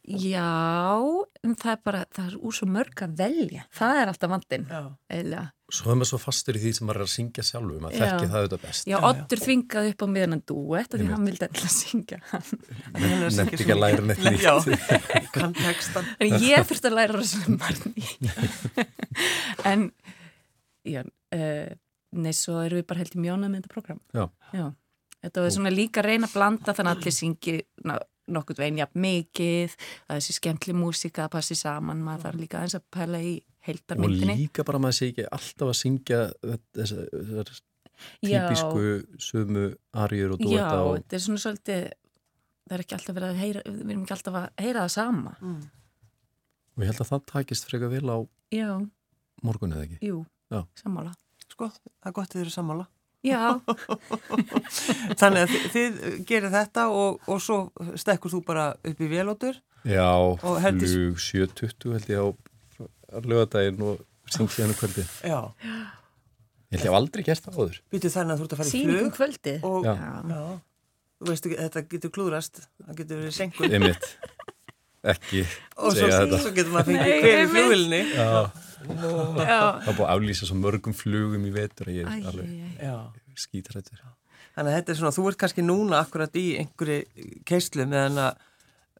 Speaker 2: Já, en það er bara, það er úr svo mörg að velja. Það er alltaf vandinn,
Speaker 1: Já,
Speaker 2: eiginlega.
Speaker 3: Svo er maður svo fastur í því sem maður er að syngja sjálfu, maður
Speaker 2: Já.
Speaker 3: þekki það auðvitað best.
Speaker 2: Já,
Speaker 1: já.
Speaker 2: Oddur þvingaði upp á miðan en duett af því
Speaker 3: Einmitt.
Speaker 2: hann vildi endilega syngja [laughs] hann.
Speaker 1: Hann er að syngja
Speaker 3: Nefndi
Speaker 1: svo
Speaker 3: ekki
Speaker 1: [laughs]
Speaker 3: að læra neitt
Speaker 1: mikið.
Speaker 3: nýtt.
Speaker 1: Já, kann textan
Speaker 2: En ég þurfti að læra rosalega margt nýtt.
Speaker 3: [laughs]
Speaker 2: en, já, uh, nei, svo erum við bara held í mjónað með þetta program.
Speaker 3: Já.
Speaker 2: Já, þetta var svona líka að reyna að blanda þannig að allir syngi ná, nokkuð veginn jafn mikið, það er þessi skemmtli músika að passi saman, maður þarf líka aðeins að pæla í
Speaker 3: [laughs] Og
Speaker 2: heildarmyndinni.
Speaker 3: líka bara maður sé ekki alltaf að syngja þetta- þessar þessar típisku sömu ariur og
Speaker 2: Já,
Speaker 3: duetta og
Speaker 2: þetta er svona svolítið það er ekki alltaf verið að heyra við erum ekki alltaf að heyra það sama
Speaker 1: Mm.
Speaker 3: og ég held að það takist frekar vel á
Speaker 2: Já,
Speaker 3: morgun eða ekki.
Speaker 2: jú,
Speaker 3: Já.
Speaker 2: sammála
Speaker 1: Sko, það er gott að þið eru sammála
Speaker 2: Já,
Speaker 1: Þannig að þið, þið gerir þetta og, og svo stekkur þú bara upp í velótur
Speaker 3: Já,
Speaker 1: Og Herdís-
Speaker 3: flug 7.20 held ég á lögadaginn og syngi hennu kvöldi.
Speaker 1: Já,
Speaker 3: Ég held ég hef aldrei gert það áður.
Speaker 1: býtu þannig að þú ert að fara í
Speaker 2: síningum
Speaker 1: flug
Speaker 2: kvöldi
Speaker 1: og,
Speaker 3: Já.
Speaker 2: Já,
Speaker 1: já, þú veistu, þetta getur klúðrast það getur verið senkun
Speaker 3: Einmitt, ekki
Speaker 1: og svo,
Speaker 3: segja þetta.
Speaker 1: svo getur maður að
Speaker 2: Nei,
Speaker 1: fengið hver í
Speaker 2: einmitt.
Speaker 1: flugilni
Speaker 3: Já,
Speaker 2: já.
Speaker 3: það er búið að aflýsa svo mörgum flugum í vetur að ég
Speaker 2: Æ,
Speaker 3: er
Speaker 2: æ,
Speaker 3: alveg
Speaker 2: æ.
Speaker 1: Já,
Speaker 3: skítrættur.
Speaker 1: þannig að þetta er svona þú ert kannski núna akkurat í einhverju keislu meðan að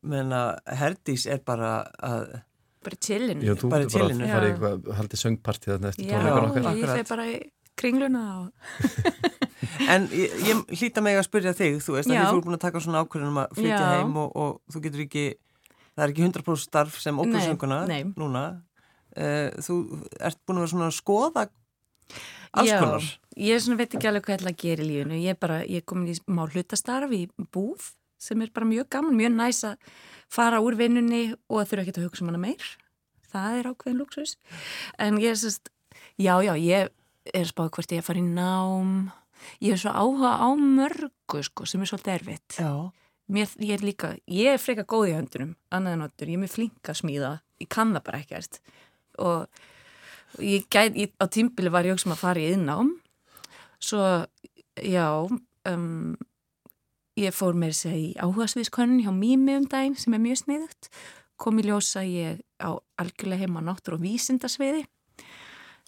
Speaker 1: meðan að Herdís er bara að
Speaker 2: bara chillin
Speaker 3: Já, þú
Speaker 1: Bara í
Speaker 3: getur bara
Speaker 1: chillinu.
Speaker 3: að fara í
Speaker 2: Já.
Speaker 3: eitthvað, haldið söngpartið þarna eftir
Speaker 2: Já,
Speaker 3: tónleikar okkar.
Speaker 2: ég
Speaker 1: Akkurat.
Speaker 2: fer bara í kringluna og...
Speaker 1: En ég, ég hlýta mig að spyrja þig, þú veist, að
Speaker 2: Já.
Speaker 1: því þú er búin að taka svona ákvörðunum að flytja
Speaker 2: Já.
Speaker 1: heim og, og þú getur ekki, það er ekki 100% starf sem óperusönguna
Speaker 2: Nei, nei.
Speaker 1: núna. Uh, þú ert búin að vera svona að skoða alls
Speaker 2: Já,
Speaker 1: konar.
Speaker 2: Ég svona veit ekki alveg hvað ég ætla að gera í lífinu Ég er bara, ég er komin í má hlutastarf í búð sem er bara mjög gaman, mjög næs að fara úr vinnunni og að þurfa ekki að hugsa um hana meir það er ákveðin luxus en ég er sérst, já já ég er spáð hvert ég að fara í nám ég er svo áhuga á mörgu sko, sem er svolítið erfitt
Speaker 1: Já,
Speaker 2: Mér, ég er líka, ég er freka góð í höndunum annað en ottur, ég er mjög flink að smíða ég kann það bara ekkert og og ég gæt, ég, á tímbili var ég sem að fara í yðnám svo, já um, ég fór með þess að segja í áhugasviðskönnun hjá Mými um daginn sem er mjög sniðugt kom í ljósa ég á algjörlega heima á náttúr og vísindasviði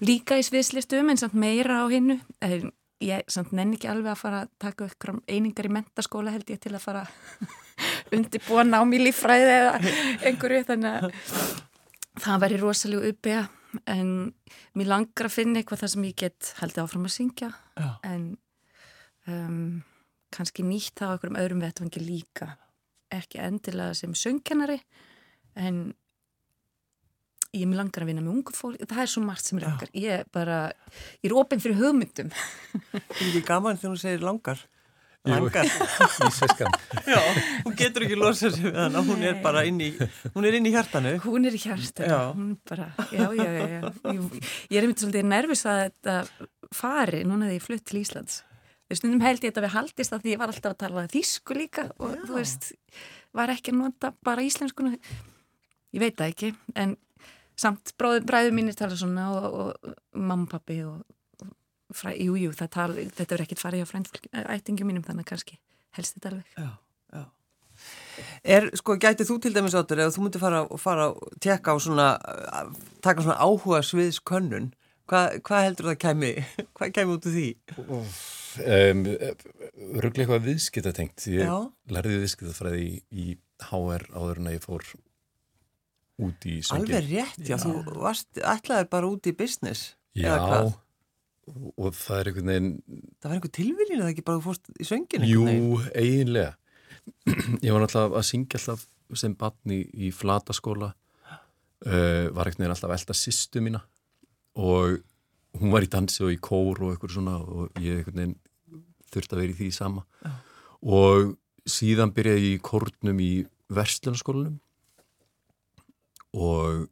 Speaker 2: líka í sviðslistum en samt meira á hinnu en ég samt nenni ekki alveg að fara að taka ykkur einingar í mentaskóla held ég til að fara undirbúa nám í líffræði eða einhverju þannig að það væri rosalega uppega en mér langar að finna eitthvað þar sem ég get haldið áfram að syngja
Speaker 1: já.
Speaker 2: en um, kannski nýtt það á einhverjum öðrum vettvangi líka ekki endilega sem söngkennari en ég mér langar að vinna með ungu fólk það er svo margt sem mér langar ég er bara, ég er opinn fyrir hugmyndum
Speaker 1: Það er ekki gaman þegar hún segir langar.
Speaker 3: Jú. [laughs]
Speaker 1: Langar,
Speaker 3: Ísveiskan.
Speaker 1: já, hún getur ekki losað sér við hann, hún er
Speaker 2: Nei.
Speaker 1: bara inn í, hún er inn í hjartanu.
Speaker 2: Hún er í hjarta,
Speaker 1: Já.
Speaker 2: hún er bara, já, já, já, já. Ég, ég er einmitt svolítið nervis að þetta fari núna þegar ég flutt til Íslands. Þegar stundum held ég þetta við haldist að því ég var alltaf að tala þýsku líka og þú veist, var ekki að nota bara íslenskuna. Ég veit það ekki, en samt bróður, bræður mínir tala svona og, og mamma, pappi og, og fræ, jú, jú, það tala, þetta er ekkert farið hjá frændfólki, ættingum mínum þannig að kannski helst þetta alveg.
Speaker 1: Já, já. Er, sko, gætið þú til dæmis áttur eða þú myndir fara og fara og tekka á svona, að taka svona áhuga sviðskönnun, hvað hva heldur það kæmi, [laughs] hvað kæmi út úr því?
Speaker 3: Um, Ruglega eitthvað viðskiptatengt. Ég
Speaker 1: Já.
Speaker 3: lærði viðskiptafræði í, í HR áður en að ég fór út í söngin.
Speaker 1: Alveg rétt, já, þú varst, ætlaði bara út í business. eða
Speaker 3: Já,
Speaker 1: hvað?
Speaker 3: og- og það er einhvern veginn,
Speaker 1: Það var einhver tilviljun að það ekki bara þú fórst í söngin
Speaker 3: jú,
Speaker 1: einhvern veginn.
Speaker 3: eiginlega. Ég var náttúrulega að syngja alltaf sem barn í, í flataskóla, uh, var einhvern veginn alltaf að elda sýstu mína og hún var í dansi og í kór og eitthvað svona og ég einhvern veginn þurfti að vera í því sama. Og síðan byrjaði ég í kórnum í verslunarskólanum og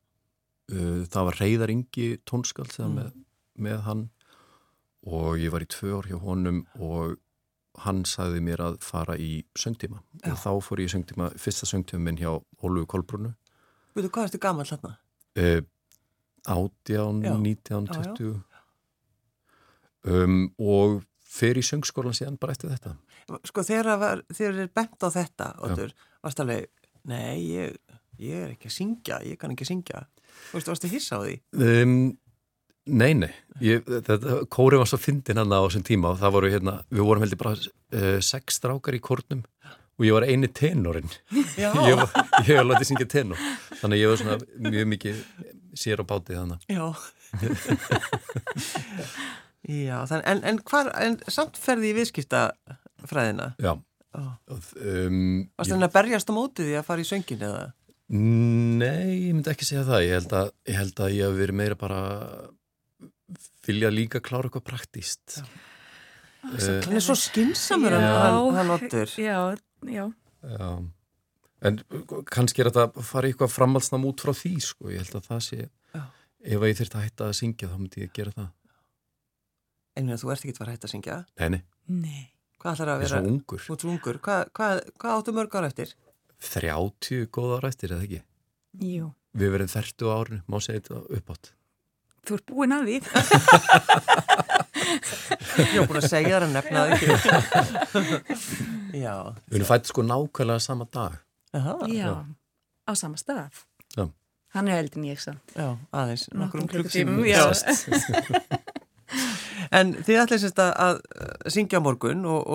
Speaker 3: uh, það var Reyðar Ingi tónskald mm. með, með hann og ég var í tvö ár hjá honum og hann sagði mér að fara í söngtíma og þá fór ég í söngtíma, fyrsta söngtíma minn hjá Ólugu Kolbrunnu
Speaker 1: Veitu, hvað erstu gamall hérna?
Speaker 3: uh, 18,
Speaker 1: Já.
Speaker 3: 19,
Speaker 1: Já, já.
Speaker 3: 20 Um, og fer í söngskólan síðan bara eftir þetta
Speaker 1: Sko, þegar það var- þegar þér er bent á þetta, Otur, varst alveg, nei, ég, ég er ekki að syngja, ég kann ekki að syngja Þú veist, varstu hissa á því?
Speaker 3: Um, nei, nei ég, þetta, Kóri var svo fyndin hann á þessum tíma og það voru hérna, við vorum heldur bara uh, sex strákar í kórnum og ég var eini tenorinn
Speaker 1: Já,
Speaker 3: [laughs] ég, var- ég var látið syngja tenor þannig að ég var svona mjög mikið sér á bátið þannig
Speaker 1: já Já, þannig, en, en hvar, en samt ferði í viðskiptafræðina
Speaker 3: Já,
Speaker 1: Ó.
Speaker 3: og, um,
Speaker 1: Varstu
Speaker 3: ég,
Speaker 1: hann að berjast á móti því að fara í söngin eða?
Speaker 3: Nei, ég myndi ekki segja það ég held að ég, held að ég hef verið meira bara vilja líka klára eitthvað praktíst Eh,
Speaker 1: Hann er svo skinsamur
Speaker 2: Já.
Speaker 1: hann, hann, hann ottur
Speaker 2: Já, já,
Speaker 3: Já, en kannski er þetta að fara í eitthvað framhaldsnam út frá því, sko, ég held að það sé,
Speaker 1: Já.
Speaker 3: ef að ég þurft að hætta að syngja þá myndi ég að gera það.
Speaker 1: En meina, þú ert ekki að fara hægt að syngja
Speaker 3: Nei, nei,
Speaker 2: nei.
Speaker 1: Hvað ætlar að
Speaker 3: ég er
Speaker 1: vera?
Speaker 3: svo ungur,
Speaker 1: Þú ert svo ungur, hvað hva, hva áttu mörg ára eftir?
Speaker 3: 30 góða ára eftir, eða ekki?
Speaker 2: Jú.
Speaker 3: Við verðum 30 á árinu, má segja þetta uppátt.
Speaker 2: Þú ert búin að því.
Speaker 1: Ég var búin að segja þar að nefna það ekki
Speaker 2: [laughs]
Speaker 1: Já,
Speaker 3: Við erum fætt sko nákvæmlega sama
Speaker 1: [laughs]
Speaker 3: dag.
Speaker 1: aha,
Speaker 2: Já,
Speaker 3: Já.
Speaker 2: á sama stað.
Speaker 3: Já.
Speaker 2: Hann er eldin ég samt.
Speaker 1: já, aðeins Nokkrum
Speaker 2: Nokkrum
Speaker 1: klukkutímum
Speaker 2: klukkutímum,
Speaker 1: já.
Speaker 2: já.
Speaker 1: En þið ætlið sérst að, að uh, syngja á morgun og, og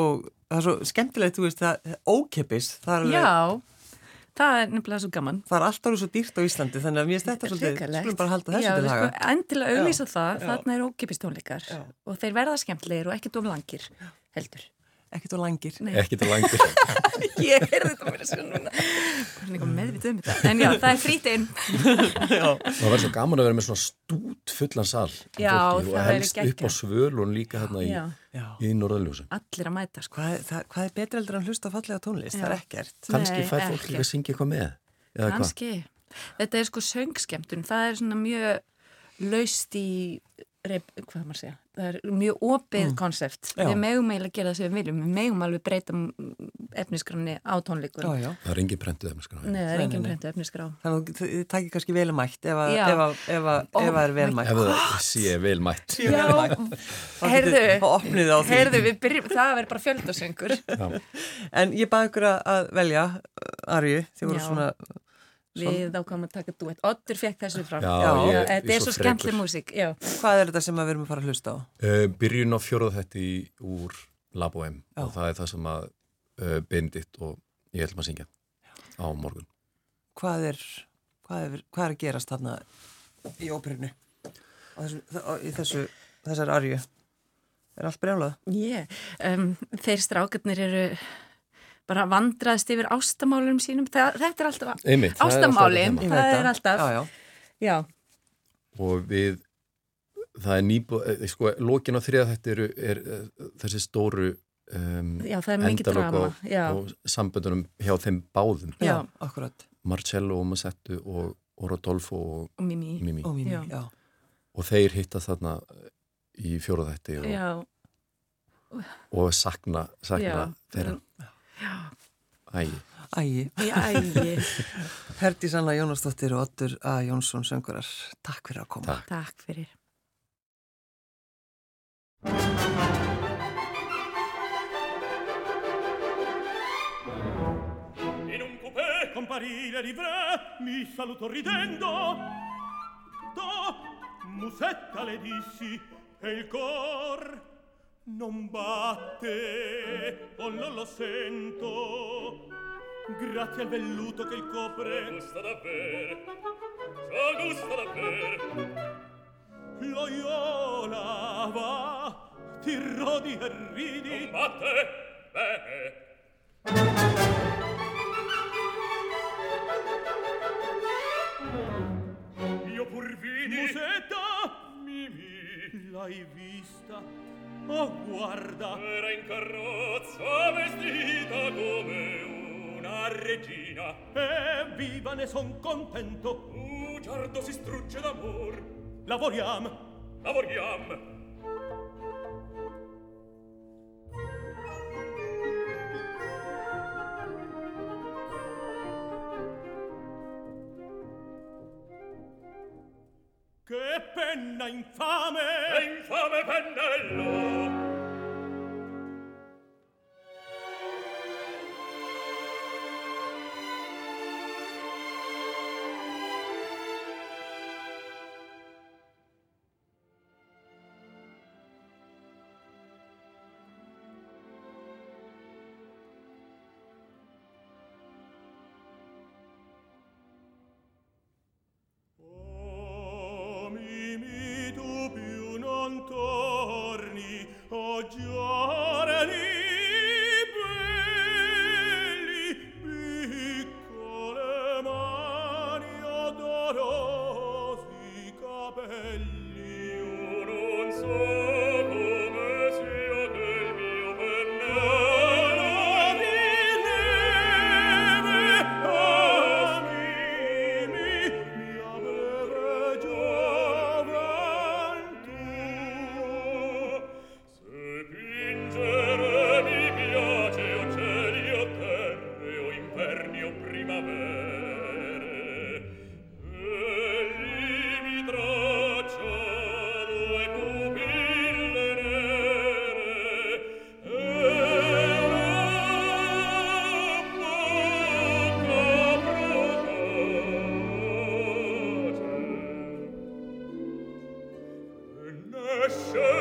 Speaker 1: það er svo skemmtilegt, þú veist, það ókeppis það er, alveg-
Speaker 2: [laughs] Já, það er nefnilega svo gaman.
Speaker 1: það er alltaf svo dýrt á Íslandi þannig að mér finnst þetta svolítið,
Speaker 2: Hrikalegt.
Speaker 1: skulum bara halda þessu
Speaker 2: Já,
Speaker 1: til
Speaker 2: við
Speaker 1: haga
Speaker 2: skulum endilega auðlýsa það, þarna eru ókipist tónleikar
Speaker 1: Já.
Speaker 2: og þeir verða skemmtlegir og ekkert of langir heldur.
Speaker 1: Ekkert og langir
Speaker 2: Nei.
Speaker 3: Ekki þetta langur.
Speaker 2: Ég er þetta mér að segja núna. Hvernig kom meðvitað um þetta? En já, það er frítinn.
Speaker 3: Það var svo gaman að vera með svona stút fullan sal. af
Speaker 2: Já,
Speaker 3: fólki
Speaker 2: það
Speaker 3: og
Speaker 2: væri
Speaker 3: helst upp á
Speaker 2: geggjað.
Speaker 3: svölun líka hérna í,
Speaker 2: Já,
Speaker 1: Já.
Speaker 3: í norðaljósum.
Speaker 2: allir að mæta sko.
Speaker 1: Hvað, er- það, hvað er betra heldur en hlusta á fallega tónlist?
Speaker 2: Já.
Speaker 1: Það er ekkert
Speaker 3: Kannski
Speaker 2: Nei,
Speaker 3: fær fólk
Speaker 2: ekki.
Speaker 3: líka að syngja eitthvað með. eða hvað?
Speaker 2: Kanski. Þetta er sko söngskemmtun, það er svona mjög laust í, rep, hvað maður segja, það er mjög opið konsept.
Speaker 1: Mm. Já.
Speaker 2: Við megum eiginlega gera það sem við viljum, við megum alveg breyta mm, efniskránni á tónleikunum.
Speaker 1: Já, já
Speaker 3: Það er engin prentuð sko. efniskan á
Speaker 2: Nei, það er
Speaker 1: Nei,
Speaker 2: engin
Speaker 1: nei, nei.
Speaker 2: brendu efniskrá.
Speaker 1: Þannig að þið takir kannski vel um mætt ef að
Speaker 2: Já. Oh
Speaker 1: ef að- ef að- ef að er vel mætt
Speaker 3: Ef það sé vel mætt.
Speaker 1: [laughs]
Speaker 2: Já,
Speaker 1: Þá
Speaker 2: heyrðu,
Speaker 1: opnið á því
Speaker 2: heyrðu, við byrjum, það verður bara
Speaker 1: [laughs]
Speaker 2: fjöldasöngur.
Speaker 1: En ég baði ykkur að- að velja uh, Arju, þið voru
Speaker 2: Já.
Speaker 1: svona
Speaker 2: Við ákvæmum að taka duett. Oddur fekk þessu frá.
Speaker 3: Já,
Speaker 1: Já,
Speaker 3: ég, ég
Speaker 2: Þetta er svo
Speaker 3: frekur.
Speaker 2: skemmtli músík, já.
Speaker 1: Hvað er þetta sem að við erum að fara að hlusta á?
Speaker 3: Uh, byrjun á fjóruð þetta í úr Labo M
Speaker 1: Já.
Speaker 3: og það er það sem að uh, bindit og ég ætlum að syngja á morgun.
Speaker 1: Hvað er, hvað er, hvað er að gerast þarna í óperinu? Á Þessu, á- í þessu, þessar Arju Er allt brjálað?
Speaker 2: Yeah. Um, þeir strákarnir eru bara vandraðist yfir ástamálum sínum. Þa, þetta er alltaf
Speaker 3: Einmitt, það er alltaf
Speaker 2: ástamálin,
Speaker 3: þetta
Speaker 1: Ég
Speaker 2: það,
Speaker 1: veit
Speaker 2: er alltaf,
Speaker 1: Já, já,
Speaker 2: já.
Speaker 3: þema. Og við, það er nýbú, eh, sko, lokin á þriða þetta eru er, eh, þessi stóru um,
Speaker 2: Já, það er mikið drama,
Speaker 3: og,
Speaker 2: já.
Speaker 3: og samböndunum hjá þeim báðum,
Speaker 2: Já.
Speaker 1: já, akkurat
Speaker 3: Marcello og Massettu og, og Rodolfo og
Speaker 2: og mimi.
Speaker 3: Mimi.
Speaker 1: Og mínu,
Speaker 2: Já.
Speaker 1: já,
Speaker 3: Og þeir hittast þarna eh, í fjóruð þetta og,
Speaker 2: Já,
Speaker 3: og sakna, sakna
Speaker 2: Já.
Speaker 3: þeirra. Æ,
Speaker 1: Æi,
Speaker 2: já, æ,
Speaker 1: Herdís Anna Jónasdóttir og Ottur A. Jónsson söngurar Takk fyrir að koma
Speaker 3: Takk.
Speaker 2: takk fyrir.
Speaker 4: In un coupé comparire livré mi saluto ridendo. Do, musetta le dissi e il cor non batte o non lo sento. Grazie al velluto che il copre
Speaker 5: gusta da bere, c'ho gusto da bere,
Speaker 4: Loiola va, ti rodi e ridi.
Speaker 5: batte, bene. Io pur vidi,
Speaker 4: Musetta,
Speaker 5: mimi,
Speaker 4: l'hai vista? Oh, guarda,
Speaker 5: era in carrozza vestita come una regina.
Speaker 4: evviva ne son contento.
Speaker 5: Bugiardo si strugge d'amor,
Speaker 4: Lavoriamo.
Speaker 5: lavoriam,
Speaker 4: Che penna infame!
Speaker 5: e infame pennello.
Speaker 4: Che
Speaker 5: primavere Egli mi traccia due pupille nere E una bocca procace E nasce